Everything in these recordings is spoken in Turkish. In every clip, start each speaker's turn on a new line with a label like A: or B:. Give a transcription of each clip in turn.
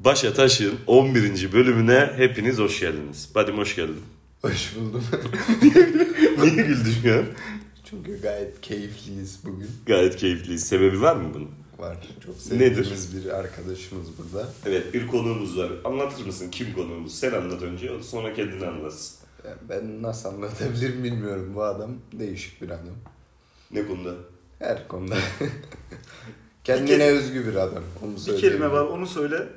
A: Başa Taş'ın 11. bölümüne hepiniz hoş geldiniz. Badim hoş geldin.
B: Hoş buldum.
A: Niye güldün ya?
B: Çünkü gayet keyifliyiz bugün.
A: Gayet keyifliyiz. Sebebi var mı bunun?
B: Var. Çok
A: Nedir?
B: sevdiğimiz bir arkadaşımız burada.
A: Evet bir konuğumuz var. Anlatır mısın kim konuğumuz? Sen anlat önce sonra kendin anlatsın.
B: Yani ben nasıl anlatabilirim bilmiyorum. Bu adam değişik bir adam.
A: Ne konuda?
B: Her konuda. Kendine
A: Bir ke-
B: özgü bir adam. Onu
A: Bir
B: söyleyeyim.
A: kelime var onu söyle.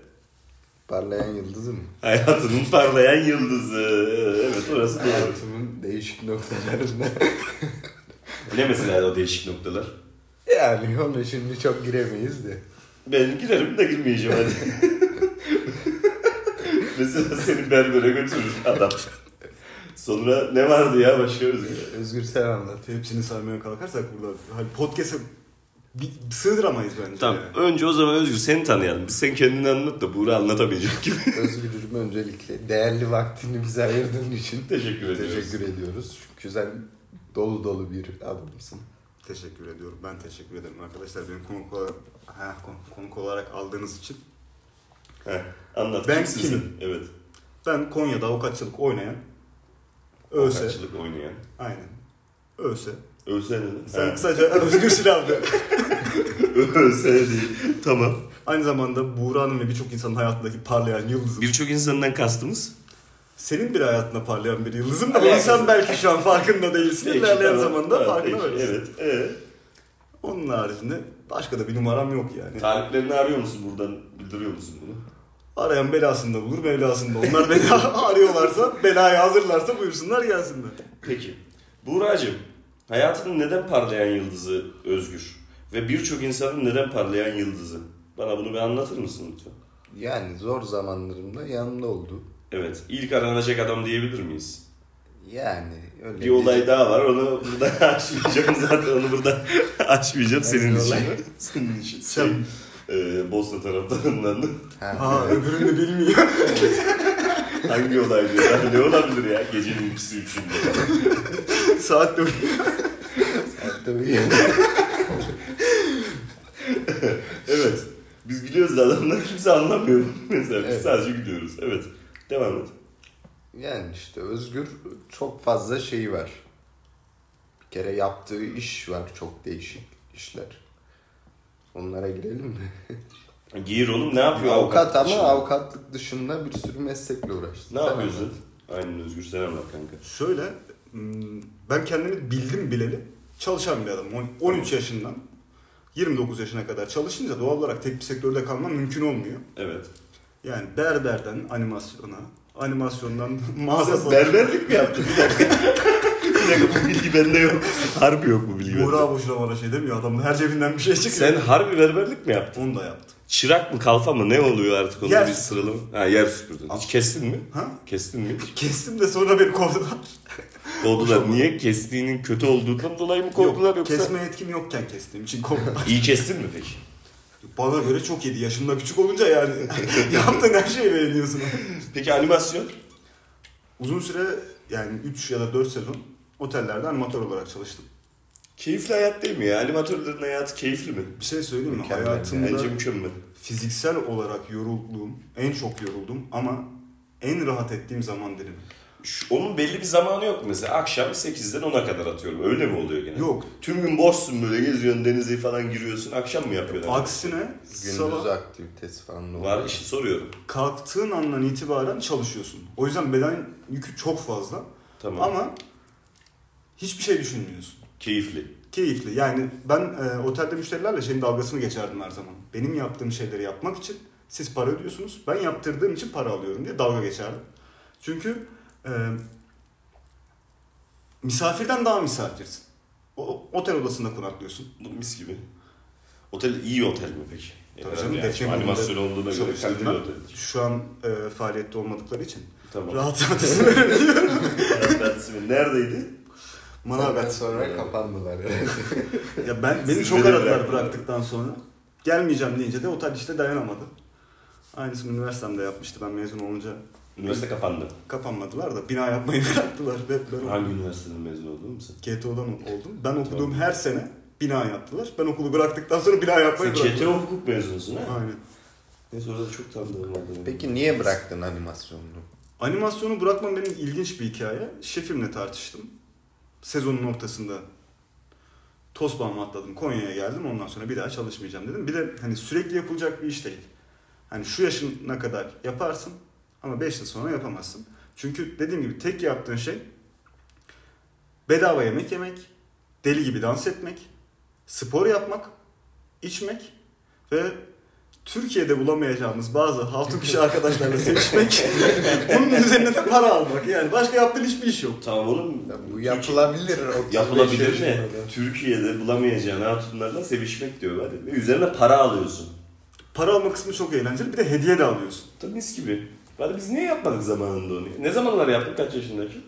B: Parlayan yıldızım.
A: Hayatının parlayan yıldızı. Evet orası doğru.
B: Hayatımın değişik noktalarında.
A: ne mesela o değişik noktalar?
B: yani ona şimdi çok giremeyiz de.
A: Ben girerim de girmeyeceğim hadi. mesela seni berbere götürür adam. Sonra ne vardı ya başka özgür?
B: Özgür sen anlat.
C: Hepsini saymaya kalkarsak burada hani podcast'e bir sığdıramayız bence.
A: Tamam.
C: yani.
A: Önce o zaman Özgür seni tanıyalım. Biz sen kendini anlat da Buğra anlatabilecek gibi.
B: Özgür'üm öncelikle değerli vaktini bize ayırdığın için
A: Teşekkür ediyoruz.
B: Teşekkür ediyoruz. Çünkü sen dolu dolu bir adamsın.
C: Teşekkür ediyorum. Ben teşekkür ederim arkadaşlar. Beni konuk olarak, ha, kon- konuk olarak aldığınız için.
A: Heh, anlat.
C: Ben
A: Kimsin
C: kimim?
A: sen? Evet.
C: Ben Konya'da avukatçılık oynayan ÖSE.
A: Avukatçılık oynayan.
C: Aynen. ÖSE.
A: Öse ne? lan?
C: Sen
A: Ha,
C: kısaca Özgür Silahlı.
A: Öse değil. Tamam.
C: Aynı zamanda Buğra'nın ve birçok insanın hayatındaki parlayan yıldızı.
A: Birçok insandan kastımız
C: Senin bir hayatında parlayan bir yıldızın da
A: Alakası-
C: bu insan belki şu an farkında değilsin. İlerleyen
A: Ekip,
C: zamanda
A: evet,
C: farkına
A: ekip,
C: varırsın.
A: Evet. Ee,
C: Onun haricinde başka da bir numaram yok yani.
A: Taliplerini arıyor musun buradan? Bildiriyor musun bunu?
C: Arayan belasını da bulur, mevlasını da. Onlar beni arıyorlarsa, belayı hazırlarsa buyursunlar gelsinler.
A: Peki. Buğra'cığım. Hayatının neden parlayan yıldızı Özgür? Ve birçok insanın neden parlayan yıldızı? Bana bunu bir anlatır mısın lütfen?
B: Yani zor zamanlarımda yanımda oldu.
A: Evet. ilk aranacak adam diyebilir miyiz?
B: Yani öyle
A: Bir olay daha var. Onu burada açmayacağım zaten. Onu burada açmayacağım senin
B: Hangi
A: için.
B: olay?
A: senin için. Şey,
C: Sen-
A: e, Bosna taraflarından da
B: Ha,
C: Ha, öbürünü bilmiyor.
A: hangi olay diyorlar? Ne olabilir ya? Gecenin ikisi üçünde.
C: Saat de
B: tabii.
A: Evet. Biz gülüyoruz da adamlar kimse anlamıyor. Mesela biz
B: Evet.
A: sadece gülüyoruz. Evet. Devam et.
B: yani işte Özgür çok fazla şeyi var. Bir kere yaptığı iş var çok değişik işler. Onlara girelim mi?
A: Giyir oğlum ne yapıyor?
B: avukat ama
A: dışında?
B: avukatlık dışında bir sürü meslekle uğraştı.
A: Ne
B: Sen
A: yapıyorsun?
B: anlat.
A: Aynen Özgür sen anlat kanka.
C: Şöyle, hmm, ben kendimi bildim bileli çalışan bir adamım. On- 13 yaşından 29 yaşına kadar çalışınca doğal olarak tek bir sektörde kalmam mümkün olmuyor.
A: Evet.
C: Yani berberden animasyona, animasyondan mağaza
A: Sen
C: satışına.
A: berberlik mi yaptın? Bir dakika. bir dakika bu bilgi bende yok. Harbi yok bu bilgi bende.
C: Buğra boşuna bana şey demiyor. Adam her cebinden bir şey çıkıyor.
A: Sen harbi berberlik mi yaptın?
C: Onu da yaptım.
A: Çırak mı kalfa mı ne oluyor artık onun
C: Yer
A: bir sıralama? Ha yer süpürdün. Hiç kestin mi?
C: Ha?
A: Kestin mi?
C: Kestim de sonra beni kovdular.
A: Kovdular. Niye? Kestiğinin kötü olduğundan dolayı mı kovdular
C: Yok,
A: yoksa?
C: Kesme yetkim yokken kestiğim için kovdular.
A: İyi kestin mi peki?
C: Bana göre çok iyiydi. Yaşımda küçük olunca yani yaptığın her şeyi beğeniyorsun.
A: Peki animasyon?
C: Uzun süre yani 3 ya da 4 sezon otellerde animatör olarak çalıştım.
A: Keyifli hayat değil mi ya? Animatörlerin hayatı keyifli mi?
C: Bir şey söyleyeyim mi?
B: Mükemmel.
C: Hayatımda
A: Bence mükemmel.
C: fiziksel olarak yorulduğum, en çok yoruldum ama en rahat ettiğim zaman dilimi.
A: Şu- Onun belli bir zamanı yok mu mesela? Akşam 8'den 10'a kadar atıyorum. Öyle mi oluyor gene?
C: Yok.
A: Tüm gün boşsun böyle geziyorsun denize falan giriyorsun. Akşam mı yapıyorlar?
C: Aksine
B: Gündüz
C: sabah
B: aktivitesi falan da
A: Var
B: oluyor.
A: işte soruyorum.
C: kalktığın andan itibaren çalışıyorsun. O yüzden beden yükü çok fazla
A: Tamam.
C: ama hiçbir şey düşünmüyorsun.
A: Keyifli.
C: Keyifli. Yani ben e, otelde müşterilerle şeyin dalgasını geçerdim her zaman. Benim yaptığım şeyleri yapmak için siz para ödüyorsunuz. Ben yaptırdığım için para alıyorum diye dalga geçerdim. Çünkü e, misafirden daha misafirsin. O, otel odasında konaklıyorsun.
A: Bu mis gibi. Otel iyi otel mi peki?
C: Tabii canım,
A: E, Yani
C: defne
A: animasyon
C: bölümünde
A: olduğuna göre
C: çalıştığımdan-
A: kaliteli oteldir.
C: Şu an e, faaliyette olmadıkları için.
A: Tamam.
C: Rahat rahat izin
A: Rahat. Neredeydi?
B: Sonra,
C: Manavgat.
B: sonra kapandılar.
C: Ya ben, beni
A: Siz
C: çok
A: beni
C: aradılar
A: bırakın.
C: bıraktıktan sonra. Gelmeyeceğim deyince de otel işte dayanamadı. Aynısını üniversitemde yapmıştı ben mezun olunca.
A: Üniversite kapandı.
C: kapanmadılar da bina yapmayı bıraktılar. Ben, ben
A: Hangi üniversiteden mezun oldun mu sen?
C: KTO'dan oldum. Ben okuduğum her sene bina yaptılar. Ben okulu bıraktıktan sonra bina yapmayı
A: Sen
C: bıraktım.
A: ÇTO hukuk mezunusun ha?
C: Aynen.
A: Neyse orada çok tanıdığım vardı. benim.
B: Peki niye bıraktın animasyonunu?
C: Animasyonu bırakmam benim ilginç bir hikaye. Şefimle tartıştım. Sezonun ortasında Tosbağımı atladım. Konya'ya geldim. Ondan sonra bir daha çalışmayacağım dedim. Bir de hani sürekli yapılacak bir iş değil. Hani şu yaşına kadar yaparsın ama 5 yıl sonra yapamazsın. Çünkü dediğim gibi tek yaptığın şey bedava yemek yemek, deli gibi dans etmek, spor yapmak, içmek ve Türkiye'de bulamayacağımız bazı hatun kişi arkadaşlarla sevişmek, bunun üzerine de para almak. Yani başka yaptığın hiçbir iş yok.
A: Tamam oğlum.
B: Ya bu yapılabilir. şey 35
A: Yapılabilir mi?
B: yaşında da.
A: Türkiye'de bulamayacağın hatunlarla sevişmek diyor. Hadi. Ve üzerine para alıyorsun.
C: Para alma kısmı çok eğlenceli. Bir de hediye de alıyorsun.
A: Tabii mis gibi. Hadi biz niye yapmadık zamanında onu? Ne zamanlar yaptık? Kaç yaşındaki?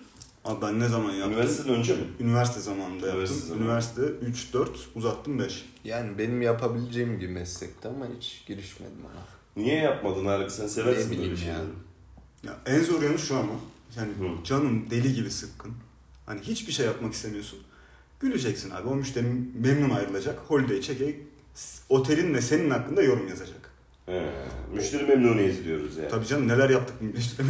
C: Abi ben ne zaman yaptım? Üniversite,
A: Üniversiteden önce mi?
C: zamanında yaptım.
A: Üniversite zamanı.
C: Üniversite 3-4 uzattım 5.
B: Yani benim yapabileceğim gibi meslekte ama hiç girişmedim ona.
A: Niye yapmadın harbi? Sen seversin
B: Ne
A: böyle
B: bileyim
A: şeyleri.
B: ya.
C: Ya en zor yanı şu ama. Yani
A: Hı.
C: canım deli gibi sıkkın. Hani hiçbir şey yapmak istemiyorsun. Güleceksin abi. O müşterin memnun ayrılacak. Holiday çekecek. Otelinle senin hakkında yorum yazacak.
A: He, müşteri memnuniyeti diyoruz yani.
C: Tabii canım neler yaptık müşteri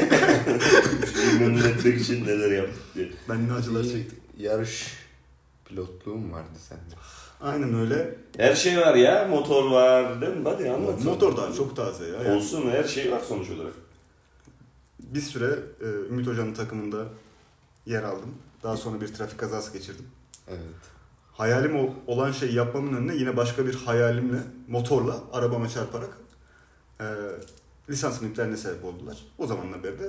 A: Müşteri memnun etmek için neler yaptık diye.
C: Ben ne acılar çektim.
B: Yarış pilotluğum vardı sende.
C: Aynen öyle.
A: Her şey var ya. Motor var değil mi? Hadi anlat.
C: Motor daha çok taze ya. Yani
A: Olsun her şey var sonuç olarak.
C: bir süre e, Ümit Hoca'nın takımında yer aldım. Daha sonra bir trafik kazası geçirdim.
B: Evet.
C: Hayalim ol- olan şeyi yapmamın önüne yine başka bir hayalimle, motorla, arabama çarparak e, lisansımın iptaline sebep oldular. O zamanlar beri de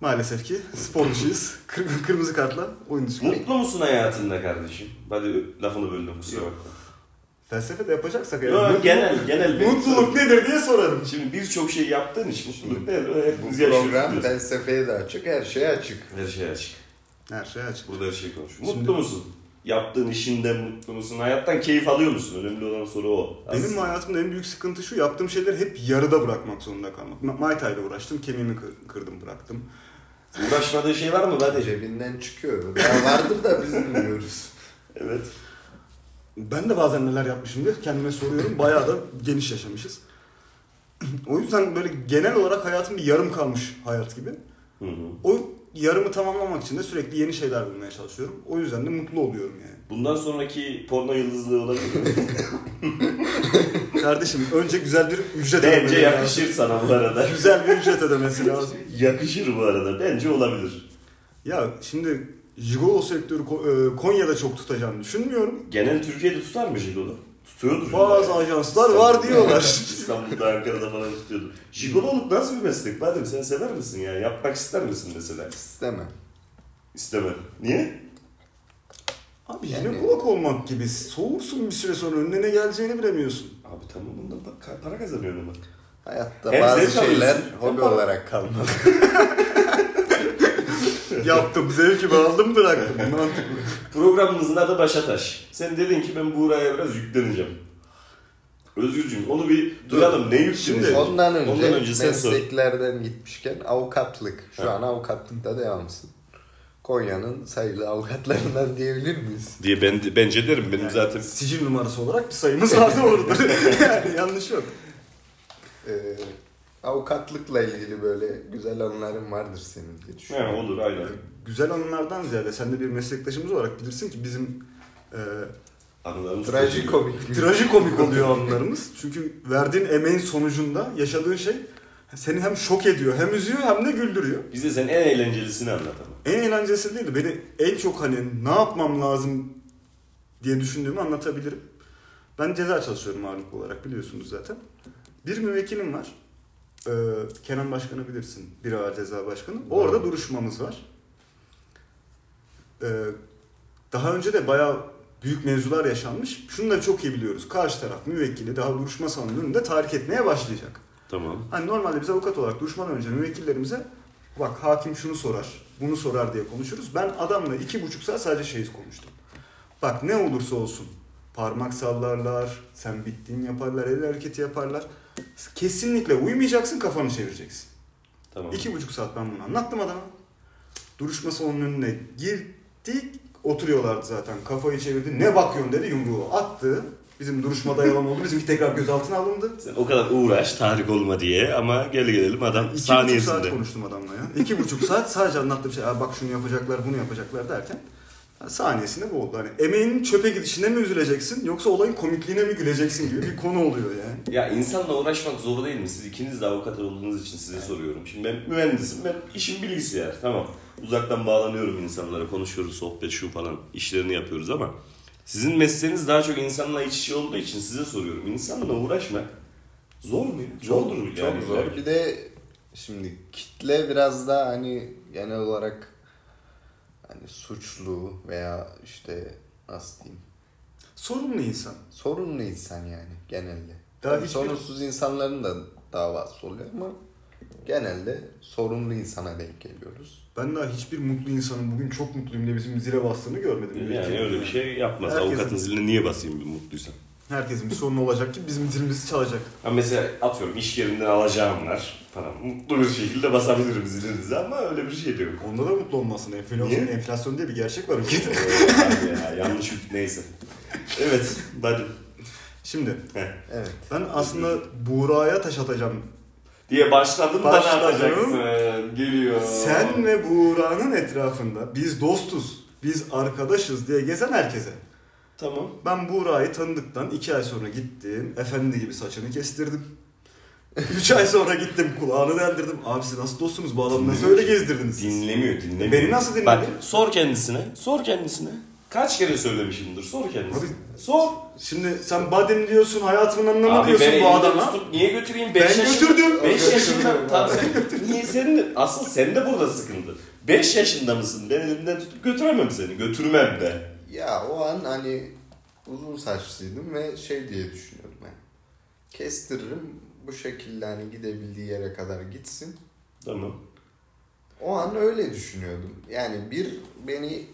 C: maalesef ki sporcuyuz. Kır- kırmızı kartla oyun dışı. kaldık.
A: Mutlu musun hayatında kardeşim? Hadi lafını böldüm kusura bakma.
C: Felsefe de yapacaksak eğer
A: Yo,
C: mutluluk-
A: genel, genel benim.
C: mutluluk nedir diye sorarım.
A: Şimdi birçok şey yaptığın için mutluluk ne?
B: Bu
A: Hepimiz
B: program
A: yaşıyoruz.
B: felsefeye de açık, her şeye açık.
A: Her şey açık.
C: Her şey açık.
A: Burada her şey konuşuyor.
C: Şimdi-
A: Mutlu musun? Yaptığın işinden mutlu musun? Hayattan keyif alıyor musun? Önemli olan soru o.
C: Benim hayatımda en büyük sıkıntı şu, yaptığım şeyleri hep yarıda bırakmak zorunda kalmak. Ma- Muay Thai'de uğraştım, kemiğimi kır- kırdım, bıraktım.
A: Uğraşmadığın şey var mı? Hadi.
B: Cebinden çıkıyor. Ya vardır da biz bilmiyoruz.
A: Evet.
C: Ben de bazen neler yapmışım diye kendime soruyorum. Bayağı da geniş yaşamışız. o yüzden böyle genel olarak hayatım bir yarım kalmış hayat gibi.
A: Hı hı.
C: O yarımı tamamlamak için de sürekli yeni şeyler bulmaya çalışıyorum. O yüzden de mutlu oluyorum yani.
A: Bundan sonraki porno yıldızlığı olabilir mi?
C: Kardeşim önce güzel bir ücret
A: Bence
C: ödemesi
A: yakışır sana bu arada.
C: lazım. Güzel bir ücret ödemesi lazım.
A: Yakışır bu arada. Bence olabilir.
C: Ya şimdi Jigolo sektörü Ko- e, Konya'da çok tutacağını düşünmüyorum.
A: Genel Türkiye'de tutar mı Jigolo? Tutuyordur.
C: Bazı ajanslar var diyorlar.
A: İstanbul'da, Ankara'da falan tutuyordur. Jigololuk nasıl bir meslek? Badem sen sever misin yani? Yapmak ister misin mesela?
B: İstemem.
A: İstemem. Niye?
C: Abi
B: Yani-
C: jinekolog olmak gibi soğursun bir süre sonra önüne ne geleceğini bilemiyorsun.
A: Abi tamam bundan bak ka- para kazanıyorum ama.
B: Hayatta
A: Hem
B: bazı
A: zevk
B: şeyler
A: alıyorsun,
B: hobi
A: hem-
B: olarak kalmalı.
C: Yaptım zevkimi aldım bıraktım. Mantıklı.
A: Programımızın adı Başataş. Sen dedin ki ben Buğra'ya biraz yükleneceğim. Özgürcüğüm onu bir duyalım. Ne yükleneceğim?
B: Ondan önce,
A: Ondan önce sen sor.
B: mesleklerden gitmişken avukatlık. Şu
A: Ha.
B: an avukatlıkta devamsın. Konya'nın sayılı avukatlarından diyebilir miyiz?
A: Diye ben, bence derim. Benim zaten
C: Sicil numarası olarak bir sayımız vardı orada. yani yanlış yok.
B: Ee, avukatlıkla ilgili böyle güzel anıların vardır senin diye
A: Ha,
B: düşünüyorum.
A: olur aynen.
C: Güzel anılardan ziyade sen de bir meslektaşımız olarak bilirsin ki bizim e,
A: Anılarımız
B: Trajikomik.
C: trajikomik oluyor anılarımız. Çünkü verdiğin emeğin sonucunda yaşadığın şey seni hem şok ediyor hem üzüyor hem de güldürüyor.
A: Bize sen en eğlencelisini anlat ama.
C: En eğlencesi değildi. Beni en çok hani ne yapmam lazım diye düşündüğümü anlatabilirim. Ben ceza çalışıyorum ağırlıklı olarak biliyorsunuz zaten. Bir müvekkilim var. Ee, Kenan Başkan'ı bilirsin. Bir ağır ceza başkanı. Orada duruşmamız var. Ee, daha önce de bayağı büyük mevzular yaşanmış. Şunu da çok iyi biliyoruz. Karşı taraf müvekkili daha duruşma salonunun önünde tahrik etmeye başlayacak.
A: Tamam.
C: Hani normalde biz avukat olarak duruşmadan önce müvekkillerimize bak hakim şunu sorar, bunu sorar diye konuşuruz. Ben adamla iki buçuk saat sadece şeyiz konuştum. Bak ne olursa olsun parmak sallarlar, sen bittiğin yaparlar, el hareketi yaparlar. Kesinlikle uymayacaksın, kafanı çevireceksin.
A: Tamam.
C: İki buçuk saat ben bunu anlattım adama. Duruşma salonunun önüne girdik. Oturuyorlardı zaten. Kafayı çevirdi. Ne bakıyorsun dedi yumruğu attı. Bizim duruşmada yalan oldu. Bizimki tekrar gözaltına alındı.
A: Sen o kadar uğraş tahrik olma diye ama gel gelelim adam
C: İki buçuk
A: saniyesinde.
C: saat konuştum adamla ya. İki buçuk saat sadece anlattığım şey. "Aa bak şunu yapacaklar, bunu yapacaklar derken yani saniyesinde bu oldu. Hani emeğinin çöpe gidişine mi üzüleceksin yoksa olayın komikliğine mi güleceksin gibi bir konu oluyor yani.
A: Ya insanla uğraşmak zor değil mi? Siz ikiniz de avukat olduğunuz için size soruyorum. Şimdi ben mühendisim, ben işim bilgisayar. Tamam. Uzaktan bağlanıyorum insanlara, konuşuyoruz, sohbet şu falan işlerini yapıyoruz ama sizin mesleğiniz daha çok insanla iç içe olduğu için size soruyorum. İnsanla uğraşmak zor mu? ya? Zordur yani.
B: Çok zor. Bir de şimdi kitle biraz daha hani genel olarak hani suçlu veya işte nasıl diyeyim
C: Sorumlu insan.
B: sorunlu insan yani genelde.
C: Daha
B: Daha
C: hiçbir-
B: Sorunsuz insanların da davası oluyor ama genelde sorunlu insana denk geliyoruz.
C: Ben daha hiçbir mutlu insanın bugün çok mutluyum diye bizim zile bastığını görmedim.
A: Yani öyle bir şey yapmaz.
C: Herkesin-
A: Avukatın ziline niye basayım bir mutluysam?
C: Herkesin bir sorunu olacak ki bizim zilimizi çalacak.
A: Ha mesela atıyorum iş yerinden alacağımlar falan. Mutlu bir şekilde basabilirim zilinize ama öyle bir şey de yok.
C: Onda da mutlu olmasın. Enflasyon,
A: Niye?
C: enflasyon diye bir gerçek var ülkede.
A: Abi ya, yanlış bir- neyse. Evet, hadi.
C: Şimdi
B: Evet.
C: ben aslında Buğra'ya taş atacağım.
A: diye başladın da ne
C: Başladım.
A: yapacaksın? Geliyor.
C: Sen ve Buğra'nın etrafında biz dostuz, biz arkadaşız diye gezen herkese.
A: Tamam.
C: Ben Buğra'yı tanıdıktan iki ay sonra gittim. Efendi gibi saçını kestirdim. Üç ay sonra gittim kulağını deldirdim. Abi siz nasıl dostsunuz bu adamı nasıl öyle gezdirdiniz siz?
A: Dinlemiyor, dinlemiyor.
C: Beni nasıl dinledi?
A: Bak, sor kendisine, sor kendisine. Kaç kere söylemişimdir, sor kendisine.
C: Abi,
A: sor.
C: Şimdi sen badem diyorsun hayatımın anlamı
A: Abi
C: diyorsun
A: ben
C: bu
A: elinde
C: adama.
A: tutup niye götüreyim?
C: Ben
A: 5
C: götürdüm. Ben
A: yaşında.
C: götürdüm.
A: Tamam sen, niye senin de, asıl sen de burada sıkıntı. 5 yaşında mısın? Ben elimden tutup götüremem seni. Götürmem de.
B: Ya o an hani uzun saçlıydım ve şey diye düşünüyordum ben. Kestiririm bu şekilde hani gidebildiği yere kadar gitsin.
A: Tamam.
B: O an öyle düşünüyordum. Yani bir beni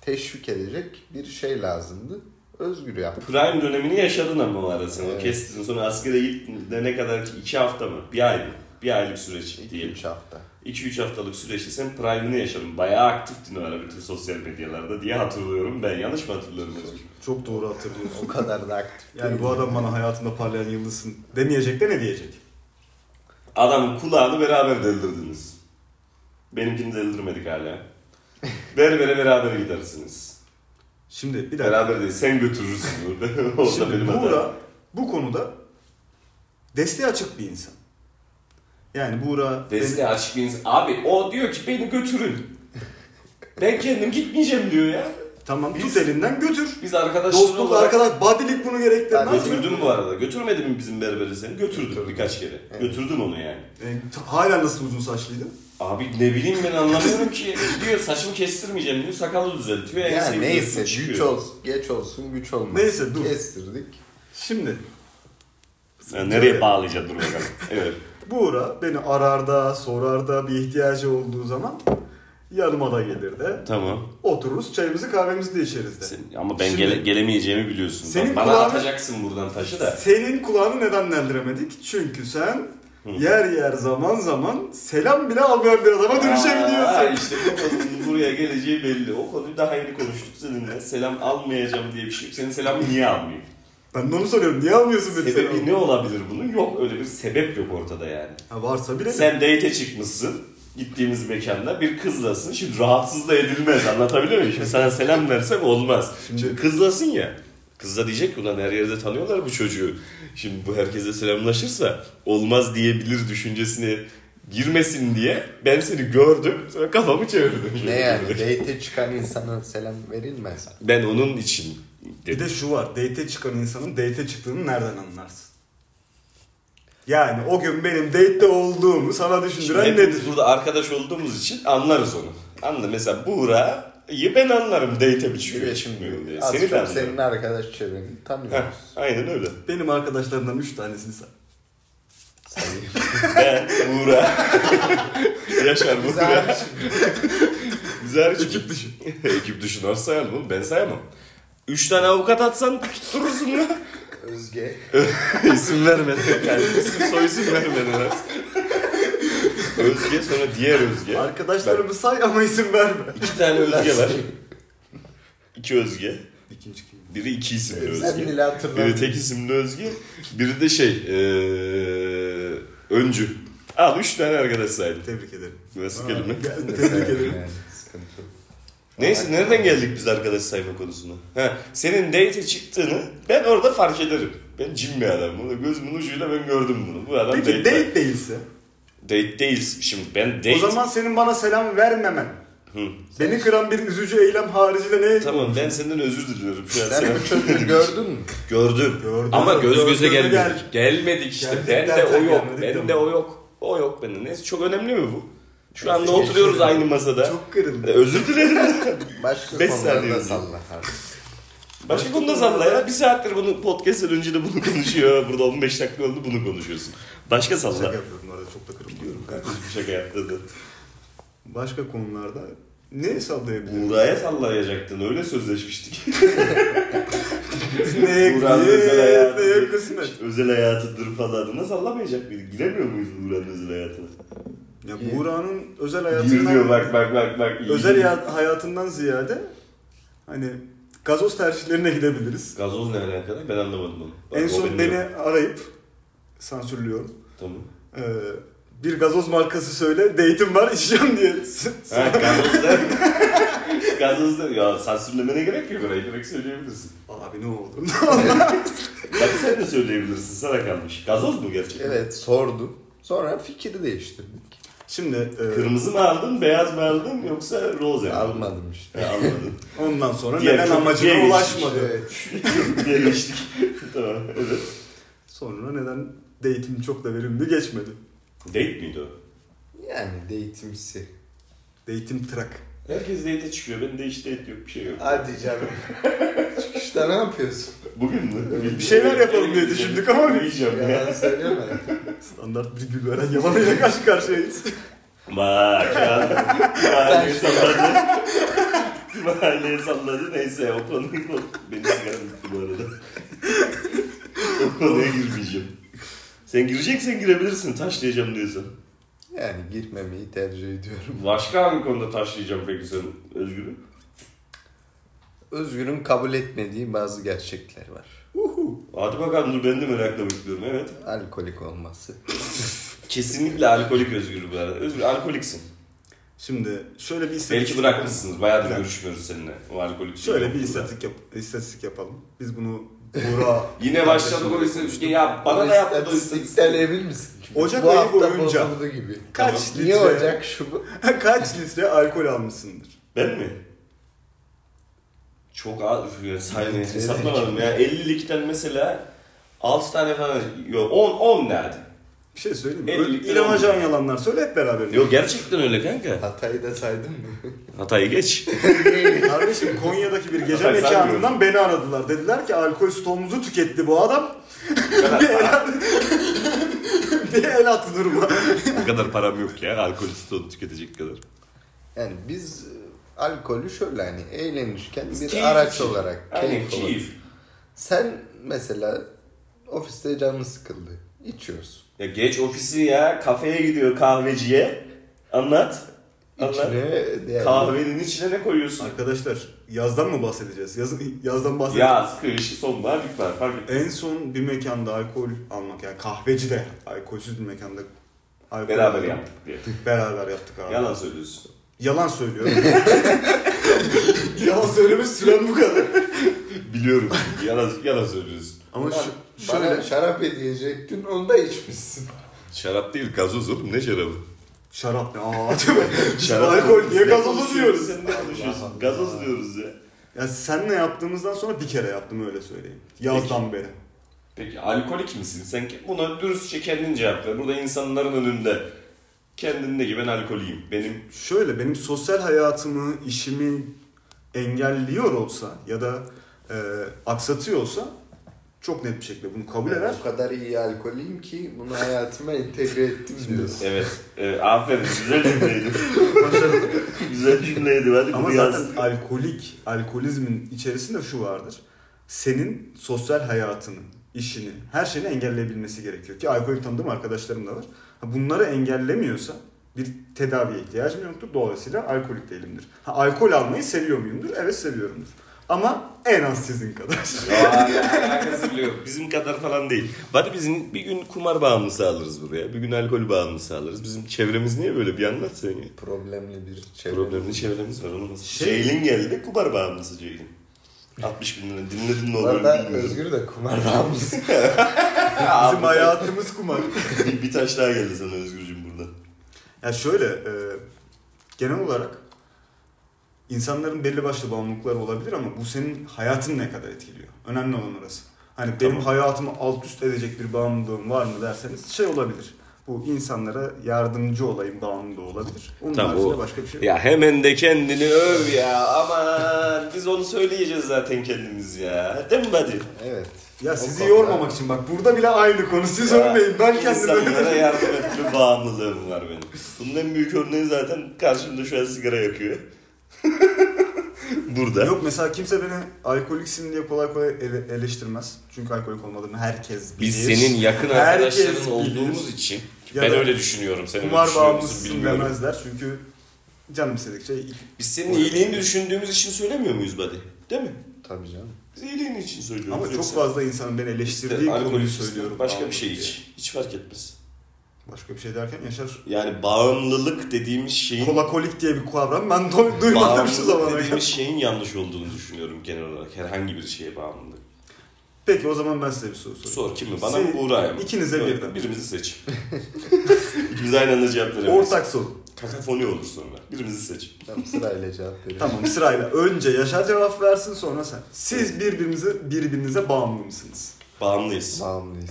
B: teşvik edecek bir şey lazımdı. Özgür yap.
A: Prime dönemini yaşadın ama o ara sen. O
B: Evet.
A: Kestin sonra askere gittin de ne kadar ki? 2 hafta mı? Bir ay mı? Bir aylık süreç diyelim.
B: 2-3 hafta.
A: 2-3 haftalık süreçte sen prime'ını yaşadın. Bayağı aktiftin o ara bütün sosyal medyalarda diye hatırlıyorum ben. Yanlış mı hatırlıyorum? Özgür?
C: Çok doğru hatırlıyorsun.
B: O kadar da aktif
C: Yani bu
B: değilim.
C: adam bana hayatımda parlayan yıldızsın demeyecek de ne diyecek?
A: Adamın kulağını beraber deldirdiniz. Benimkini deldirmedik hala. Berbere beraber gidersiniz.
C: Şimdi bir dakika.
A: Beraber değil, sen götürürsün burada. o da
C: Şimdi
A: benim
C: Buğra
A: hatam.
C: bu konuda desteğe açık bir insan. Yani Buğra
A: Desteği açık bir insan. Abi o diyor ki beni götürün. ben kendim gitmeyeceğim diyor ya.
C: tamam
A: Biz-
C: tut elinden götür.
A: Biz arkadaş
C: Dostluk, arkadaş, badilik bunu gerektirmez.
B: Ben
A: Götürdüm bu arada. Götürmedi mi bizim berberi seni? Götürdüm birkaç kere.
B: Evet.
A: Götürdüm onu yani.
C: E, t- hala nasıl uzun saçlıydın?
A: Abi ne bileyim ben anlamıyorum ki. Diyor saçımı kestirmeyeceğim diyor. Sakalı düzeltiyor.
B: Ya
A: enseyi
B: neyse
A: diyorsun,
B: güç olsun, geç olsun güç olmaz.
C: Neyse, dur.
B: Kestirdik.
C: Şimdi
A: Ya nereye bağlayacak dur bakalım. evet.
C: Buğra beni arar da sorar da bir ihtiyacı olduğu zaman yanıma da gelir de
A: Tamam.
C: otururuz çayımızı kahvemizi de içeriz de.
A: Sen- ama ben
C: Şimdi-
A: gele- gelemeyeceğimi biliyorsun. Bak,
C: Senin
A: bana
C: kulağını-
A: atacaksın buradan taşı da.
C: Senin kulağını neden deldiremedik? Çünkü sen yer yer zaman zaman selam bile almayan bir şey adama
A: Aa,
C: dönüşebiliyorsun.
A: işte bu konunun buraya geleceği belli. O konuyu daha yeni konuştuk seninle. Selam almayacağım diye bir şey yok. Senin selamı niye almayayım?
C: Ben de onu soruyorum. Niye almıyorsun beni selam?
A: Sebebi ne olabilir bunun? Yok öyle bir sebep yok ortada yani.
C: Ha, varsa bile
A: Sen date çıkmışsın. Gittiğimiz mekanda bir kızlasın. Şimdi rahatsız da edilmez. Anlatabiliyor muyum? Şimdi sana selam versem olmaz. Şimdi, kızlasın ya. Kız da diyecek ki ulan her yerde tanıyorlar bu çocuğu. Şimdi bu herkese selamlaşırsa olmaz diyebilir düşüncesine girmesin diye ben seni gördüm sonra kafamı çevirdim.
B: Ne yani date çıkan insana selam verilmez.
A: Ben onun için
C: bir
A: dedim.
C: de şu var. Date'e çıkan insanın date'e çıktığını nereden anlarsın? Yani o gün benim date'te olduğumu sana
A: Şimdi
C: düşündüren nedir?
A: hepimiz burada arkadaş olduğumuz için anlarız onu. Anladın mesela Buğra'yı ben anlarım date'e bir çıkıyor. çıkmıyor diye.
B: Az
A: Seni de
B: çok
A: anlarım.
B: senin arkadaş çevreni
A: Heh,
B: tanıyoruz.
A: aynen öyle.
C: Benim arkadaşlarımdan 3 tanesini say.
A: Ben, Buğra, Yaşar
B: Biz
A: Buğra.
B: hariç
A: Biz hariç ekip dışı. şey. ekip dışı nasıl sayalım oğlum? Ben sayamam. Üç tane avukat atsan tutturursun ya.
B: Özge.
A: isim vermedi. Yani isim soy isim vermedi biraz. Özge sonra diğer Özge.
C: Arkadaşlarımı say ama isim verme.
A: İki tane Özge var. iki Özge.
C: İkinci kim?
A: Biri iki isimli
B: Sen
A: Özge.
B: bile
A: Biri
B: hatırlamıyorsun.
A: tek isimli Özge. Biri de şey eee öncü. Al üç tane arkadaş saydım.
C: Tebrik ederim.
A: Nasıl
C: Aa,
A: kelime?
C: gel- Tebrik ederim.
B: Yani, sıkıntı yok.
A: Neyse nereden geldik biz arkadaş sayma konusuna? Ha, senin date çıktığını ben orada fark ederim. Ben cin bir adamım. Bunu Gözümün ucuyla ben gördüm bunu. Bu adam
C: Peki
A: date'de.
C: date değilse?
A: Date değil. Şimdi ben date...
C: O zaman senin bana selam vermemen.
A: Hı.
C: Beni kıran bir üzücü eylem haricinde ne?
A: Tamam ben senden özür diliyorum. Şu an
B: Sen
A: sana-
B: bu çocuğu gördün mü?
A: Gördüm.
C: Gördüm.
A: Ama göz göze
C: Gördüm,
A: gelmedik.
C: gel-
A: Gelmedik işte.
C: Geldik
A: ben de
C: derken
A: o yok.
C: gelmedik
A: Ben
C: de
A: de
C: ama.
A: o yok. O yok bende. Neyse çok önemli mi bu? Şu
B: Neyse,
A: anda oturuyoruz
B: geçelim.
A: aynı masada.
C: Çok kırıldı.
A: Özür dilerim.
B: Başka
A: Beş
B: konuları
A: saniye
B: da
A: önce.
B: salla. hadi.
A: Başka konuda salla ya. Bir saattir bunu podcast'ten önce de bunu konuşuyor. Burada 15 dakika oldu bunu konuşuyorsun. Başka
C: Şaka
A: salla.
C: yapıyorum orada çok da kırılıyorum.
A: Kardeşim şaka yaptığını.
C: Başka konularda ne sallayabilirim?
A: Buğra'ya sallayacaktın. Öyle sözleşmiştik.
C: ne
A: Buğra'nın özel
C: kıymet, ne kısmet.
A: hayatı. Özel hayatıdır falan. Nasıl sallamayacak mıydık? Giremiyor muyuz Buğra'nın özel hayatına?
C: Ya Buğra'nın özel
A: Gir diyor
C: hayatından,
A: bak bak bak bak. İyi.
C: özel ya- hayatından ziyade hani gazoz tercihlerine gidebiliriz.
A: Gazoz ne alakalı? Ben anlamadım onu. Bak,
C: en
A: o
C: son
A: benim
C: beni
A: yok.
C: arayıp sansürlüyorum.
A: Tamam.
C: Ee, bir gazoz markası söyle, date'im var içeceğim diye.
A: Ha, gazozda... gazozda... Ya sansürlemene gerek yok oraya. Direkt söyleyebilirsin.
C: Abi ne oldu?
A: Bak sen de söyleyebilirsin. Sana kalmış. Gazoz mu gerçekten?
B: Evet sordum. Sonra fikri değiştirdik.
C: Şimdi e,
A: Ee, Kırmızı mı aldın, beyaz mı aldın yoksa roze mi aldın?
B: Almadım işte.
A: He, almadın.
C: ondan sonra
A: Diğer
C: neden
A: çok- diğer
C: amacına
A: iş
C: ulaşmadı.
B: Evet.
A: Diye geçtik. tamam, evet.
C: Sonra neden date'im çok da verimli geçmedi.
A: Date miydi o?
B: Yani date'imsi.
C: Date'im trak.
A: Herkes date'e çıkıyor. Benim de hiç date yok, bir şey yok.
B: Hadi canım. Çıkışta ne yapıyorsun?
A: Bugün mü?
C: Bir şeyler yapalım diye düşündük ama biz-
A: Yiyeceğim ya.
B: Yalan söyleme.
C: Standart bir gül veren yalanıyla karşı karşıyayız.
A: Bak ya. Mahalleye salladı. Mahalleye salladı. Neyse o konuyu Beni sigaram bitti bu arada. o konuya girmeyeceğim. Sen gireceksen girebilirsin. Taşlayacağım diyorsan.
B: Yani girmemeyi tercih ediyorum.
A: Başka hangi konuda taşlayacağım peki sen Özgür'üm?
B: Özgür'ün kabul etmediği bazı gerçekler var.
A: Hadi bakalım dur ben de merakla bekliyorum evet.
B: Alkolik olması.
A: Kesinlikle alkolik Özgür bu arada. Özgür alkoliksin.
C: Şimdi şöyle bir istatistik...
A: Belki bırakmışsınız. Bayağıdır
C: Evet.
A: görüşmüyoruz seninle. O alkolik.
C: Şöyle bir istatistik, yap, istatistik yapalım. Biz bunu Buğra...
A: Yine başladık o istatistik. Ya bana
B: Bu
A: da yaptı o
B: istatistikten
A: istatistik.
B: emin misin?
C: Ocak
B: Bu
C: ayı
B: hafta
C: boyunca-
B: bozuldu gibi.
C: Kaç
A: Tamam.
C: litre...
B: Niye Ocak şu bu?
C: Kaç litre alkol almışsındır?
A: Ben mi? Çok az yani saymayı hesaplamadım ya. 52'den mesela 6 tane falan yok 10 10 nerede?
C: Bir şey söyleyeyim mi?
A: Elli
C: Böyle
A: litre
C: İlamacan yalanlar söyle hep beraber.
A: Yok gerçekten öyle kanka.
B: Hatay'ı da saydın mı?
A: Hatay'ı geç.
C: Kardeşim Konya'daki bir gece
A: Bak, sen
C: mekanından beni aradılar. Dediler ki alkol stoğumuzu tüketti bu adam. bir, el at, bir el at duruma.
A: Bu kadar param yok ya alkol stoğunu tüketecek kadar.
B: Yani biz e, alkolü şöyle hani eğlenirken bir
A: Keyif
B: araç
A: için.
B: olarak,
A: Aynen
B: keyif olarak.
A: keyif.
B: Sen mesela ofiste canın sıkıldı. İçiyorsun.
A: Ya geç ofisi ya kafeye gidiyor kahveciye. Anlat. Anlat.
B: İçine değerli.
A: Kahvenin içine ne koyuyorsun?
C: Arkadaşlar yazdan mı bahsedeceğiz? Yazın, yazdan bahsedeceğiz.
A: Yaz, kış, sonbahar, ilkbahar fark etmez.
C: En son bir mekanda alkol almak yani kahvecide alkolsüz bir mekanda alkol
A: Beraber
C: aldım.
A: yaptık diye.
C: Beraber yaptık abi.
A: Yalan söylüyorsun.
C: Yalan söylüyorum. Yalan söyleme süren bu kadar.
A: Biliyorum. yalan, yalan söylüyorsun.
C: Ama
B: Ulan
C: şu,
B: Bana
C: şöyle
B: şarap hediyecektin onu da içmişsin.
A: Şarap değil gazoz oğlum ne şarabı?
C: şarap ne? Aa değil mi? Biz alkol niye gazoz diyoruz?
A: Sen ne konuşuyorsun? Gazoz diyoruz ya.
C: Ya senle yaptığımızdan sonra bir kere yaptım öyle söyleyeyim. Yazdan beri.
A: Peki alkolik misin? Sen ke- buna dürüstçe kendin cevap ver. Burada insanların önünde kendin de ki ben alkoliyim. Benim
C: Şöyle benim sosyal hayatımı, işimi engelliyor olsa ya da e, aksatıyor olsa çok net bir şekilde bunu kabul eder.
B: Ben o kadar iyi alkolüyüm ki bunu hayatıma entegre ettim diyorsun.
A: evet. e, aferin güzel cümleydi. güzel cümleydi. Hadi
C: Ama
A: bunu
C: zaten
A: yaz.
C: alkolik, alkolizmin içerisinde şu vardır. Senin sosyal hayatını, işini, her şeyini engelleyebilmesi gerekiyor. Ki alkolik tanıdığım arkadaşlarım da var. Ha, Bunları engellemiyorsa bir tedaviye ihtiyacım yoktur. Dolayısıyla alkolik değilimdir. Ha, alkol almayı seviyor muyumdur? Evet seviyorumdur. Ama en az sizin kadar.
A: Alakası bile yok. Bizim kadar falan değil. Bari bizim bir gün kumar bağımlısı alırız buraya. Bir gün alkol bağımlısı alırız. Bizim çevremiz niye böyle bir anlatsana ya.
B: Problemli bir çevre.
A: Problemli çevremiz var oğlum.
C: Şey-
A: Ceylin geldi. Kumar bağımlısı Ceylin. 60 bin lira dinledin ne
B: Bu
A: olur
B: arada
A: bilmiyorum.
B: Özgür de kumar bağımlısı.
C: Bizim hayatımız kumar.
A: bir, bir taş daha geldi sana Özgürcüm buradan.
C: Ya şöyle e, genel olarak insanların belli başlı bağımlılıkları olabilir ama bu senin hayatını ne kadar etkiliyor? Önemli olan orası. Hani benim hayatımı alt üst edecek bir bağımlılığım var mı derseniz şey olabilir. Bu insanlara yardımcı olayım bağımlılığı olabilir. Onun
A: Tamam,
C: haricinde
A: o-
C: başka bir şey yok.
A: Ya hemen de kendini öv ya. Aman biz onu söyleyeceğiz zaten kendimiz ya. Değil mi buddy?
B: evet.
C: Ya
B: O
C: sizi
B: konuda-
C: yormamak için bak burada bile aynı konu. Siz
A: Ya,
C: örmeyin ben kendime.
A: İnsanlara yardım etme bağımlılığım var benim. Bunun en büyük örneği zaten karşımda şu an sigara yakıyor. Burada.
C: Yok mesela kimse beni alkoliksin diye kolay kolay ele- eleştirmez. Çünkü alkolik olmadığımı herkes bilir.
A: Biz senin yakın
C: Herkes
A: arkadaşların
C: bilir.
A: olduğumuz için
C: Ya
A: ben
C: da
A: öyle düşünüyorum. Sen öyle
C: Kumar
A: düşünüyor musun
C: bağımlısın
A: şey bilmiyorum.
C: demezler çünkü canım şey, istedikçe
A: Biz senin iyiliğini düşündüğümüz için söylemiyor muyuz buddy? Değil mi?
B: Tabii canım.
A: Biz iyiliğin için söylüyoruz.
C: ama çok
A: Yoksa
C: fazla insanın beni eleştirdiği
A: alkol
C: konuyu
A: içsin,
C: söylüyorum.
A: Başka bir
C: bağımlılık
A: şey
C: diye.
A: iç. Hiç fark etmez.
C: Başka bir şey derken Yaşar
A: Yani bağımlılık dediğimiz şeyin
C: kolakolik diye bir kavram ben do- duymadım şu
A: bağımlılık
C: zamana
A: dediğimiz
C: kadar.
A: şeyin yanlış olduğunu düşünüyorum genel olarak. Herhangi bir şeye bağımlılık.
C: Peki o zaman ben size bir soru sorayım.
A: Sor kimi? Bana
C: Siz-
A: mı Buğra'ya mı?
C: ikinize
A: Yok,
C: birden.
A: Birimizi seç. İkimiz aynı anda cevap veremeyiz.
C: Ortak soru.
A: Kakafoni olur sonra. Birimizi seç.
B: Tamam sırayla cevap veriyorum.
C: Tamam sırayla önce Yaşar cevap versin sonra sen. Siz birbirinize birbirinize bağımlı mısınız?
A: Bağımlıyız.
B: Bağımlıyız.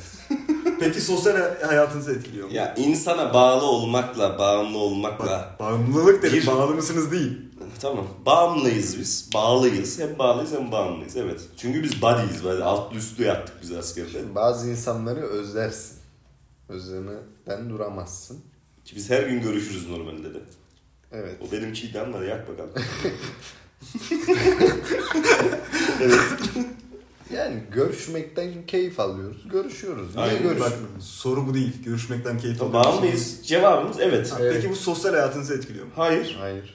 C: Peki sosyal hayatınızı etkiliyor mu?
A: Ya insana bağlı olmakla, bağımlı olmakla
C: Bak, bağımlılık
A: Bir-
C: dedim bağlı mısınız değil.
A: Tamam. Bağımlıyız biz. Bağlıyız. Hem bağlıyız hem bağımlıyız. Evet. Çünkü biz buddy'yiz. Böyle alt üstlü yaptık biz askerde.
B: Bazı insanları özlersin. Özlemeden duramazsın.
A: Ki biz her gün görüşürüz normalde de.
B: Evet.
A: O benimkiydi ama yak bakalım. evet.
B: Yani görüşmekten keyif alıyoruz. Görüşüyoruz. Niye
A: Aynen.
C: Bak
B: görüşmüyoruz?
C: soru bu değil. Görüşmekten keyif alıyor musunuz?
A: Bağımlıyız. Cevabımız evet.
C: Ha,
B: Evet.
C: Peki bu sosyal hayatınızı etkiliyor mu?
A: Hayır.
B: Hayır.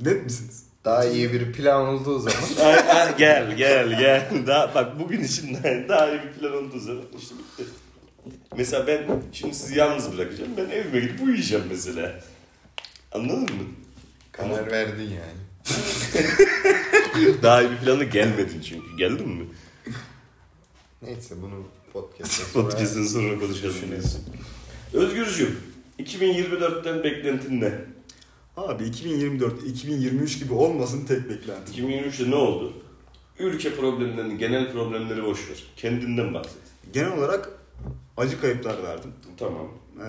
C: Net misiniz?
B: Daha iyi bir plan olduğu zaman
A: Ay, ay, gel gel gel. Daha, bak bugün için daha, daha iyi bir plan oldu zaman işte bitti. Mesela ben şimdi sizi yalnız bırakacağım. Ben evime gidip uyuyacağım mesela. Anladın mı?
B: karar verdin yani.
A: Daha iyi bir plana gelmedin çünkü. Geldin mi?
B: Neyse bunu podcast'ta
A: Podcast'ın sonra konuşalım diyorsun. Özgürcüğüm, 2024'ten beklentin ne?
C: Abi 2024, 2023 gibi olmasın tek beklentim.
A: 2023'te ne oldu? Ülke problemlerini, genel problemleri boş ver. Kendinden bahset.
C: Genel olarak acı kayıplar verdim.
A: Tamam.
C: Ee,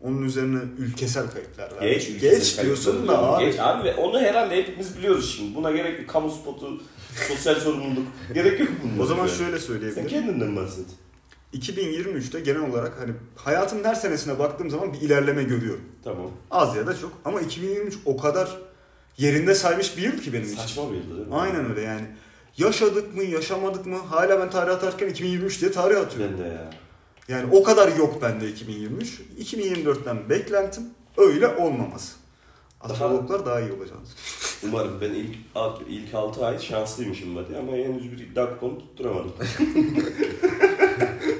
C: onun üzerine ülkesel kayıplar verdim.
A: Geç,
C: Geç
A: ülkesel
C: diyorsun
A: kayıpları.
C: da abi.
A: Geç abi ve onu herhalde hepimiz biliyoruz şimdi. Buna gerek yok. Kamu spotu, sosyal sorumluluk. gerek yok bunlara.
C: O zaman
A: Yani.
C: şöyle
A: Sen
C: söyleyebilirim.
A: kendinden bahset.
C: 2023'te genel olarak hani hayatın her senesine baktığım zaman bir ilerleme görüyorum.
A: Tamam.
C: Az ya da çok ama 2023 o kadar yerinde saymış bir yıl ki benim için.
A: Saçma bir yıldı değil mi?
C: Aynen öyle yani. Yaşadık mı, yaşamadık mı? Hala ben tarih atarken 2023 diye tarih atıyorum.
A: Ben de ya.
C: Yani o kadar yok bende 2023. 2024'ten beklentim öyle olmaması.
A: Daha-
C: Astrologlar daha iyi olacağını. söylüyor.
A: Umarım ben ilk ilk 6 ay şanslıymışım hadi ama henüz bir iddia kuponu tutturamadım.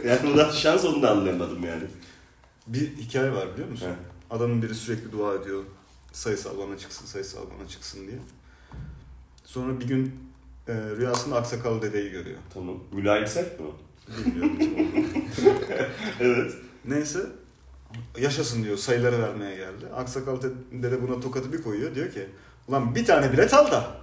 A: yani ulan şans onu da anlayamadım yani.
C: Bir hikaye var biliyor musun?
A: He.
C: Adamın biri sürekli dua ediyor. Sayısal bana çıksın, sayısal bana çıksın diye. Sonra bir gün e, rüyasında aksakallı dedeyi görüyor.
A: Tamam. Mülayimsek mi? o?
C: Bilmiyorum kim olduğunu.
A: evet.
C: Neyse yaşasın diyor sayıları vermeye geldi. Aksakallı te- dede buna tokatı bir koyuyor. Diyor ki ulan bir tane bilet al da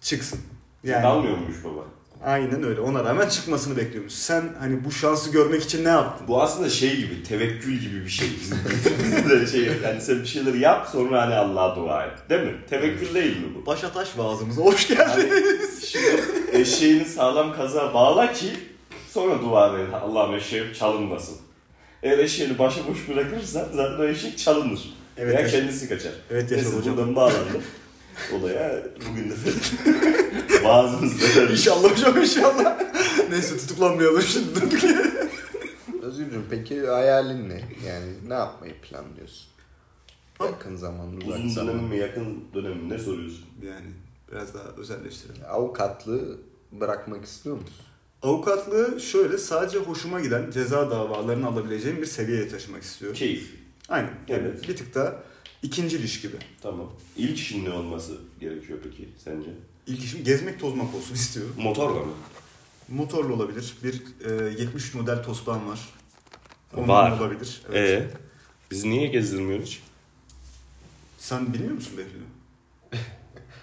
C: çıksın.
A: Yani... Dalmıyormuş baba.
C: Aynen öyle. Ona rağmen çıkmasını bekliyormuş. Sen hani bu şansı görmek için ne yaptın?
A: Bu aslında şey gibi, tevekkül gibi bir şey. Bizim bizim de şey, yani sen bir şeyleri yap sonra hani Allah'a dua et. Değil mi? Tevekkül değil mi bu? Hani
C: Başa taş vaazımıza hoş geldiniz.
A: Şimdi eşeğini sağlam kazığa bağla ki sonra dua et. Allah'ım eşeğim çalınmasın. Eğer eşeğini başıboş bırakırsan zaten o eşek çalınır.
C: Evet,
A: Veya
C: yaşa-
A: kendisi kaçar.
C: evet
A: Neyse
C: Yaşar hocam.
A: buradan bağlandım. Olaya bugün de bazımızda
C: İnşallah hocam inşallah. Neyse tutuklanmayalım şimdi.
B: Özgürcüğüm peki hayalin ne? Yani ne yapmayı planlıyorsun? Yakın zaman, uzak
A: uzun dönem
B: zaman.
A: mi yakın dönem mi ne soruyorsun?
C: yani e, Biraz daha özelleştirelim.
B: Avukatlığı bırakmak istiyor musun?
C: Avukatlığı şöyle sadece hoşuma giden ceza davalarını alabileceğim bir seviyeye taşımak istiyorum.
A: Keyif.
C: Aynen. Yani
A: Evet.
C: bir tık daha ikinci iş gibi.
A: Tamam. İlk işin ne olması gerekiyor peki sence?
C: İlk işim gezmek tozmak olsun istiyorum.
A: Motorla mı?
C: Motorlu olabilir. Bir e, 73 model Tosbağım var. Ondan
A: Var.
C: Olabilir. Evet.
A: Ee, biz niye gezdirmiyoruz?
C: Sen bilmiyor musun Behlül'ü?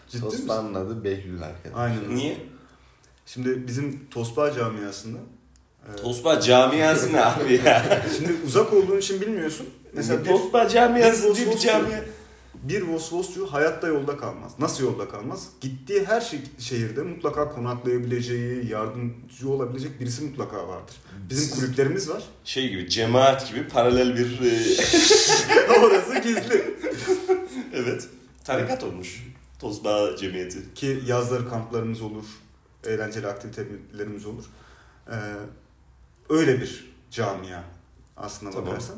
C: Ciddi misin?
B: Tosbağ'ın adı Behlül arkadaşlar.
C: Aynen. öyle.
A: Niye?
C: Şimdi bizim Tosbağ camiasında e,
A: Tosba camiası ne abi ya?
C: şimdi uzak olduğun için bilmiyorsun. Mesela bir,
A: Tosba camiası
C: bir
A: diye bir
C: Vosvosçu-
A: camia.
C: bir Vosvosçu hayatta yolda kalmaz. Nasıl yolda kalmaz? Gittiği her şey, şehirde mutlaka konaklayabileceği, yardımcı olabilecek birisi mutlaka vardır. Bizim kulüplerimiz var.
A: Şey gibi cemaat gibi paralel bir e,
C: Orası gizli.
A: evet tarikat olmuş. Tosba cemiyeti.
C: Ki yazları kamplarımız olur, eğlenceli aktivitelerimiz olur. Ee, öyle bir camia aslında
A: Tamam.
C: bakarsan.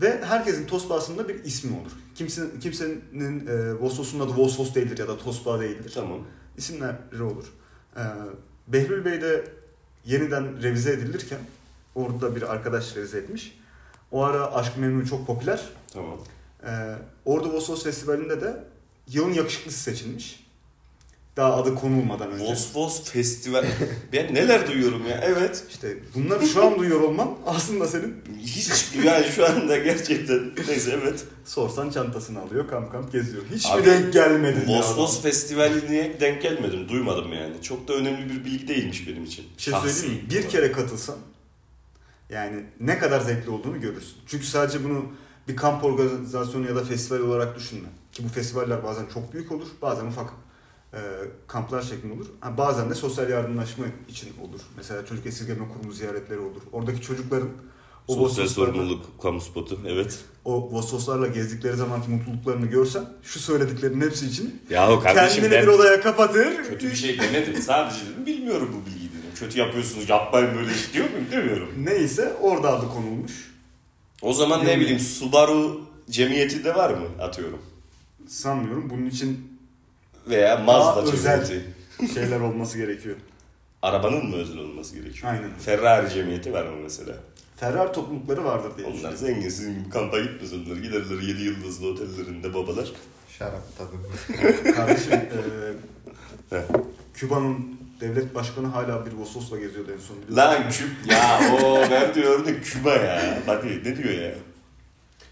C: Ve herkesin tosbağasında bir ismi olur. Kimsenin, kimsenin e, Vosvos'un adı Vosvos değildir ya da tosbağa değildir.
A: Tamam.
C: isimleri olur. Ee, Behlül Bey de yeniden revize edilirken orada bir arkadaş revize etmiş. O ara Aşk Memnu çok popüler.
A: Tamam.
C: Ee, Ordu Vosos Festivali'nde de yılın yakışıklısı seçilmiş. Daha adı konulmadan önce.
A: Vosvos festival. ben neler duyuyorum ya. Evet.
C: İşte bunları şu an duyuyor olman aslında senin
A: Hiç yani şu anda gerçekten neyse evet.
C: sorsan çantasını alıyor kamp kamp geziyor. Hiçbir
A: Abi,
C: denk gelmedi. ya.
A: Vosvos festivaline denk gelmedim. Duymadım yani. Çok da önemli bir bilgi değilmiş benim için.
C: Bir şey söyleyeyim mi? Bir kere katılsan yani ne kadar zevkli olduğunu görürsün. Çünkü sadece bunu bir kamp organizasyonu ya da festival olarak düşünme. Ki bu festivaller bazen çok büyük olur, bazen ufak e, kamplar şeklinde olur. Ha, bazen de sosyal yardımlaşma için olur. Mesela çocuk esirgeme kurumu ziyaretleri olur. Oradaki çocukların o
A: Sosyal
C: Vososlarla-
A: sorumluluk kamu spotu evet.
C: o Vososlarla gezdikleri zamanki mutluluklarını görsen şu söylediklerin hepsi için
A: Yahu kardeşim
C: kendini
A: ben
C: bir odaya kapatır.
A: kötü bir şey demedim. Sadece dedim bilmiyorum bu bilgiyi dedim. Kötü yapıyorsunuz yapmayın böyle iş diyor muyum demiyorum.
C: Neyse orada adı konulmuş.
A: O zaman ne
C: Bilmiyorum.
A: bileyim Subaru cemiyeti de var mı atıyorum.
C: Sanmıyorum bunun için
A: Veya
C: Daha
A: Mazda
C: özel.
A: cemiyeti.
C: şeyler olması gerekiyor.
A: Arabanın mı özel olması gerekiyor?
C: Aynen.
A: Ferrari cemiyeti var mı mesela?
C: Ferrar toplulukları vardır diye
A: Onlar
C: düşünüyorum.
A: zengin sizin gibi kampa gitmez onlar. Giderler 7 yıldızlı otellerinde babalar.
B: Şarap tadım.
C: Kardeşim eee,
A: Heh.
C: Küba'nın devlet başkanı hala bir Vosos'la geziyordu en son. biliyorsun.
A: Lan Küba ya o ben diyorum da Küba ya. Bak ne diyor ya.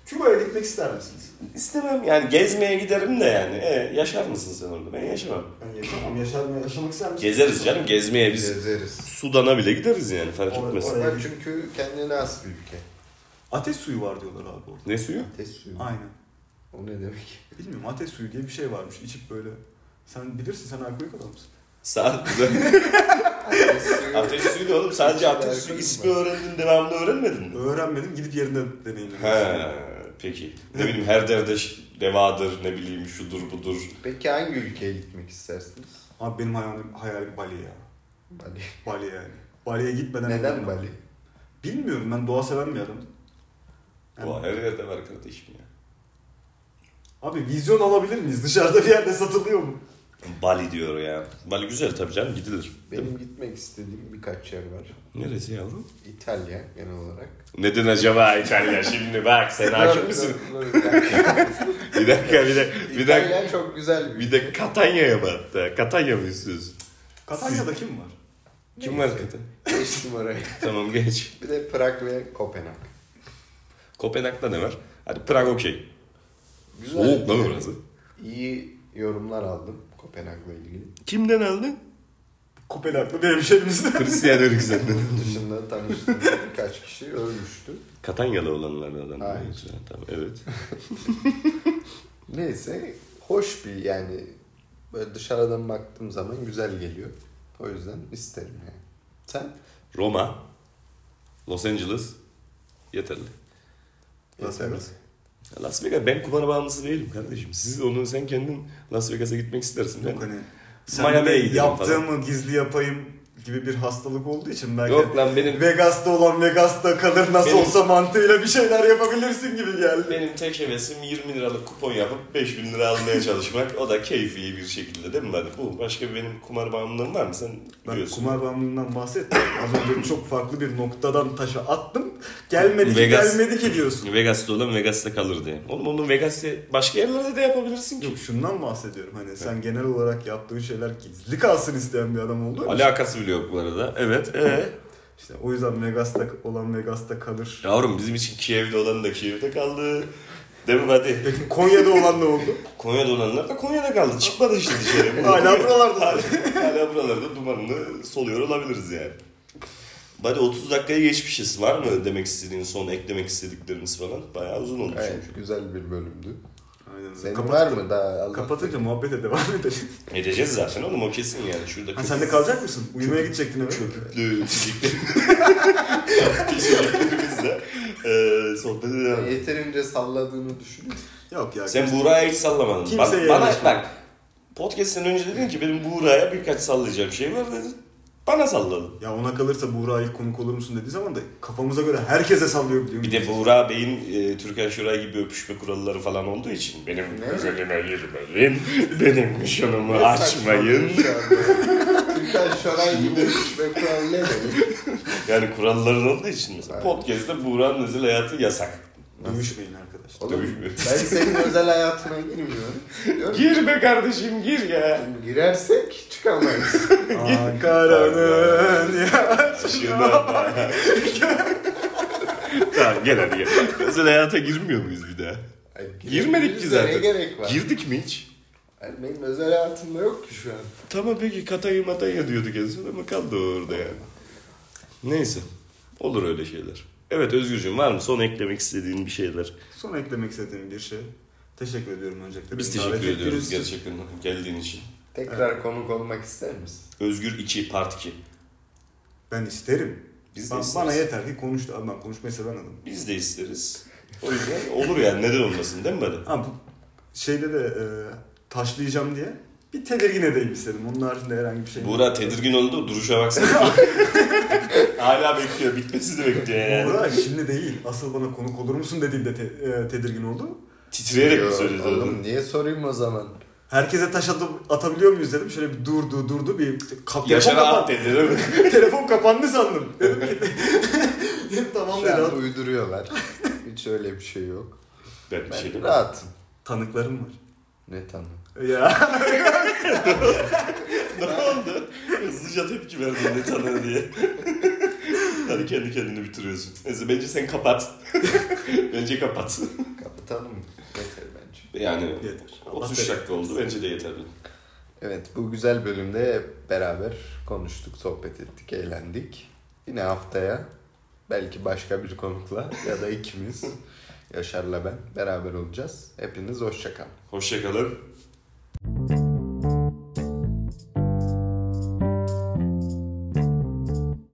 C: Küba'ya gitmek ister misiniz?
A: İstemem yani gezmeye giderim de yani. E, yaşar mısın sen orada? Ben yaşamam.
C: Ben yaşamam. Yaşar, yaşamak ister misiniz?
A: Gezeriz canım gezmeye biz.
B: Gezeriz.
A: Sudan'a bile gideriz yani fark
C: Orada-
A: etmez.
C: orada-
B: Onlar çünkü kendine has bir ülke.
C: Ateş suyu var diyorlar abi orada.
A: Ne suyu?
B: Ateş suyu.
C: Aynen.
B: O ne demek?
C: Bilmiyorum ateş suyu diye bir şey varmış. İçip böyle. Sen bilirsin sen alkolik adamsın.
A: Saat
B: Ateş suyu.
A: ateş suyu ne oğlum? Sadece ateş
C: şey
A: suyu ismi öğrendin devamlı öğrenmedin mi?
C: Öğrenmedim gidip yerinde deneyimledim.
A: He peki. Ne bileyim her derde ş- devadır ne bileyim şudur budur.
B: Peki hangi ülkeye gitmek istersiniz?
C: Abi benim hayalim, hayalim Bali ya.
B: Bali.
C: Bali yani. Bali'ye gitmeden...
B: Neden Bali?
C: Bilmiyorum ben doğa seven bir adamım. Yani-
A: Bu her yerde var kardeşim ya.
C: Abi vizyon alabilir miyiz? Dışarıda bir yerde satılıyor mu?
A: Bali diyor ya. Bali güzel tabii canım gidilir. Değil mi?
B: Benim gitmek istediğim birkaç yer var.
A: Neresi yavrum?
B: İtalya genel olarak.
A: Neden acaba İtalya şimdi bak sen hakim misin?
B: Dur, dur, dur, bir dakika.
A: Bir dakika bir dakika bir dakika.
B: İtalya çok güzel bir
A: Bir de Katanya'ya mı hatta? Katanya mı istiyorsun?
C: Katanya'da kim var?
A: Kim var
B: Neyse.
A: Katanya?
B: Geçtim orayı.
A: Tamam geç.
B: Bir de Prag ve Kopenhag.
A: Kopenhag'da ne var? Hadi Prag okey.
B: Güzel.
A: Soğuk lan orası.
B: İyi yorumlar aldım Kopenhag'la ilgili.
A: Kimden aldın?
C: Kopenhag'da bir hemşerimizde.
A: Hristiyan Örgüzen'den.
B: Yurt dışında tanıştığım birkaç kişi ölmüştü.
A: Katanyalı olanlardan.
B: Hayır.
A: Hayır. Tamam, evet.
B: Neyse hoş bir yani böyle dışarıdan baktığım zaman güzel geliyor. O yüzden isterim yani. Sen?
A: Roma, Los Angeles yeterli.
C: Las
B: Yeter.
C: Vegas.
A: Las Vegas ben kumar bağımlısı değilim kardeşim. Siz onu sen kendin Las Vegas'a gitmek istersin. Ben
C: Yok hani.
A: Miami'ye
C: Sen de
A: gidelim
C: yaptığımı gizli yapayım gibi bir hastalık olduğu için belki
A: Yok lan benim
C: Vegas'ta olan Vegas'ta kalır nasıl
A: Benim-
C: olsa mantığıyla bir şeyler yapabilirsin gibi geldi.
A: benim tek hevesim 20 liralık kupon yapıp 5000 lira almaya çalışmak. O da keyfi bir şekilde değil mi? Ben bu başka benim kumar bağımlılığım var mı? Sen
C: Ben
A: biliyorsun.
C: kumar bağımlılığından bahsettim. Az önce çok farklı bir noktadan taşa attım. Gelmedi ki
A: Vegas-
C: gelmedi ki diyorsun.
A: Vegas'ta olan Vegas'ta kalır diye. Oğlum onu Vegas'ta başka yerlerde de yapabilirsin ki.
C: Yok şundan bahsediyorum hani sen genel olarak yaptığın şeyler gizli kalsın isteyen bir adam olduğu için.
A: Alakası bile yok bu arada. Evet.
C: e?
A: Ee?
C: İşte o yüzden Vegas'ta olan Vegas'ta kalır.
A: Yavrum bizim için Kiev'de olan da Kiev'de kaldı. Değil mi hadi?
C: Peki Konya'da olan ne oldu?
A: Konya'da olanlar da Konya'da kaldı. Çıkmadı işte dışarı.
C: Hala buralarda.
A: Hala buralarda dumanını soluyor olabiliriz yani. Bari 30 dakikaya geçmişiz. Var mı demek istediğin son eklemek istediklerimiz falan? Bayağı uzun oldu
B: Gayet güzel bir bölümdü.
C: Aynen.
B: Senin
C: Kapat-
B: var mı daha? Allah-
C: Kapatınca muhabbete devam edelim.
A: çünkü. Edeceğiz zaten oğlum o kesin yani. Şurada
C: Ha, sen de kalacak mısın? Uyumaya gidecektin eve.
A: köpüklü fiziklerimizle eee Ee, sohbet edelim.
B: Yeterince salladığını düşünüyorum.
C: Yok ya.
A: Sen Buğra'ya hiç sallamadın.
C: Kimseye
A: Bak- bana
C: yanaşma.
A: bak. Podcast'ten önce dedin ki benim Buğra'ya birkaç sallayacağım şey var dedin. Bana salladın.
C: Ya ona kalırsa Buğra ilk konuk olur musun dediği zaman da kafamıza göre herkese sallıyor biliyor
A: Bir
C: musun?
A: de Buğra Bey'in e, Türkan Şoray gibi öpüşme kuralları falan olduğu için benim
B: Ne?
A: üzerime girmeyin, benim nişanımı açmayın.
B: Türkan Şoray gibi ve kural ne demek?
A: Yani kuralların olduğu için mesela
B: Aynen.
A: podcast'te Buğra'nın özel hayatı yasak.
C: Dövüşmeyin arkadaşlar.
B: Oğlum
A: Dövüş-
B: ben senin özel hayatına girmiyorum. Diyorum.
A: Gir be kardeşim gir ya.
B: Girersek çıkamayız.
C: Ankara'nın ya.
A: Şuna bak. tamam gel hadi gel. Özel hayata girmiyor muyuz bir daha?
B: Ay,
A: Girmedik ki
B: girebiliriz de Ne
A: zaten.
B: gerek var?
A: Girdik mi hiç?
B: Ay, benim özel hayatımda yok ki şu an.
A: Tamam peki katayı matayı diyorduk en son ama kaldı o orada yani. Neyse. Olur öyle şeyler. Evet Özgürcüğüm var mı son eklemek istediğin bir şeyler?
C: Son eklemek istediğim bir şey. Teşekkür ediyorum öncelikle.
A: Biz
C: Beni davet
A: teşekkür ediyoruz
C: ettiğiniz için.
A: gerçekten geldiğin için.
B: Tekrar konuk olmak ister misin?
A: Özgür 2 Part 2.
C: Ben isterim.
A: Biz de
C: Ba-
A: isteriz.
C: bana yeter ki konuş da ben konuşmayı seven adamım.
A: Biz de isteriz. O yüzden olur yani neden olmasın değil mi böyle?
C: Ha bu şeyde de e, taşlayacağım diye bir tedirgin edeyim istedim. Onun haricinde herhangi bir şey.
A: Buğra tedirgin oldu duruşa baksana. Hala bekliyor bitmesini bekliyor yani.
C: Buğra şimdi değil. Asıl bana konuk olur musun dediğinde te- e, tedirgin oldu.
A: Titreyerek mi
B: Yo,
A: söyledi
B: Oğlum
A: oğlum?
B: niye sorayım o zaman?
C: Herkese taş atıp atabiliyor muyuz dedim. Şöyle bir durdu durdu bir kap telefon,
A: Yaşar
C: kapan-
A: at dedi değil mi?
C: telefon kapandı sandım. Dedim ki dedim, tamam
B: Şu
C: dedi.
B: an
C: at.
B: uyduruyorlar. Hiç öyle bir şey yok.
A: Ben bir
B: Ben
A: şey demedim.
B: rahatım.
C: Tanıklarım var.
B: Ne tanı?
C: Ya
A: Ne oldu? Hızlıca tepki verdin ne tanığı diye. Hadi kendi kendini bitiriyorsun. Neyse bence sen kapat. bence kapat.
B: Kapatalım. Yeter bence.
A: Yani
C: yeter. Allah
A: 33
C: bereket
A: dakika oldu bence de yeterli.
B: Evet bu güzel bölümde hep beraber konuştuk, sohbet ettik, eğlendik. Yine haftaya belki başka bir konukla ya da ikimiz Yaşar'la ben beraber olacağız. Hepiniz hoşça kalın.
A: Hoşçakalın.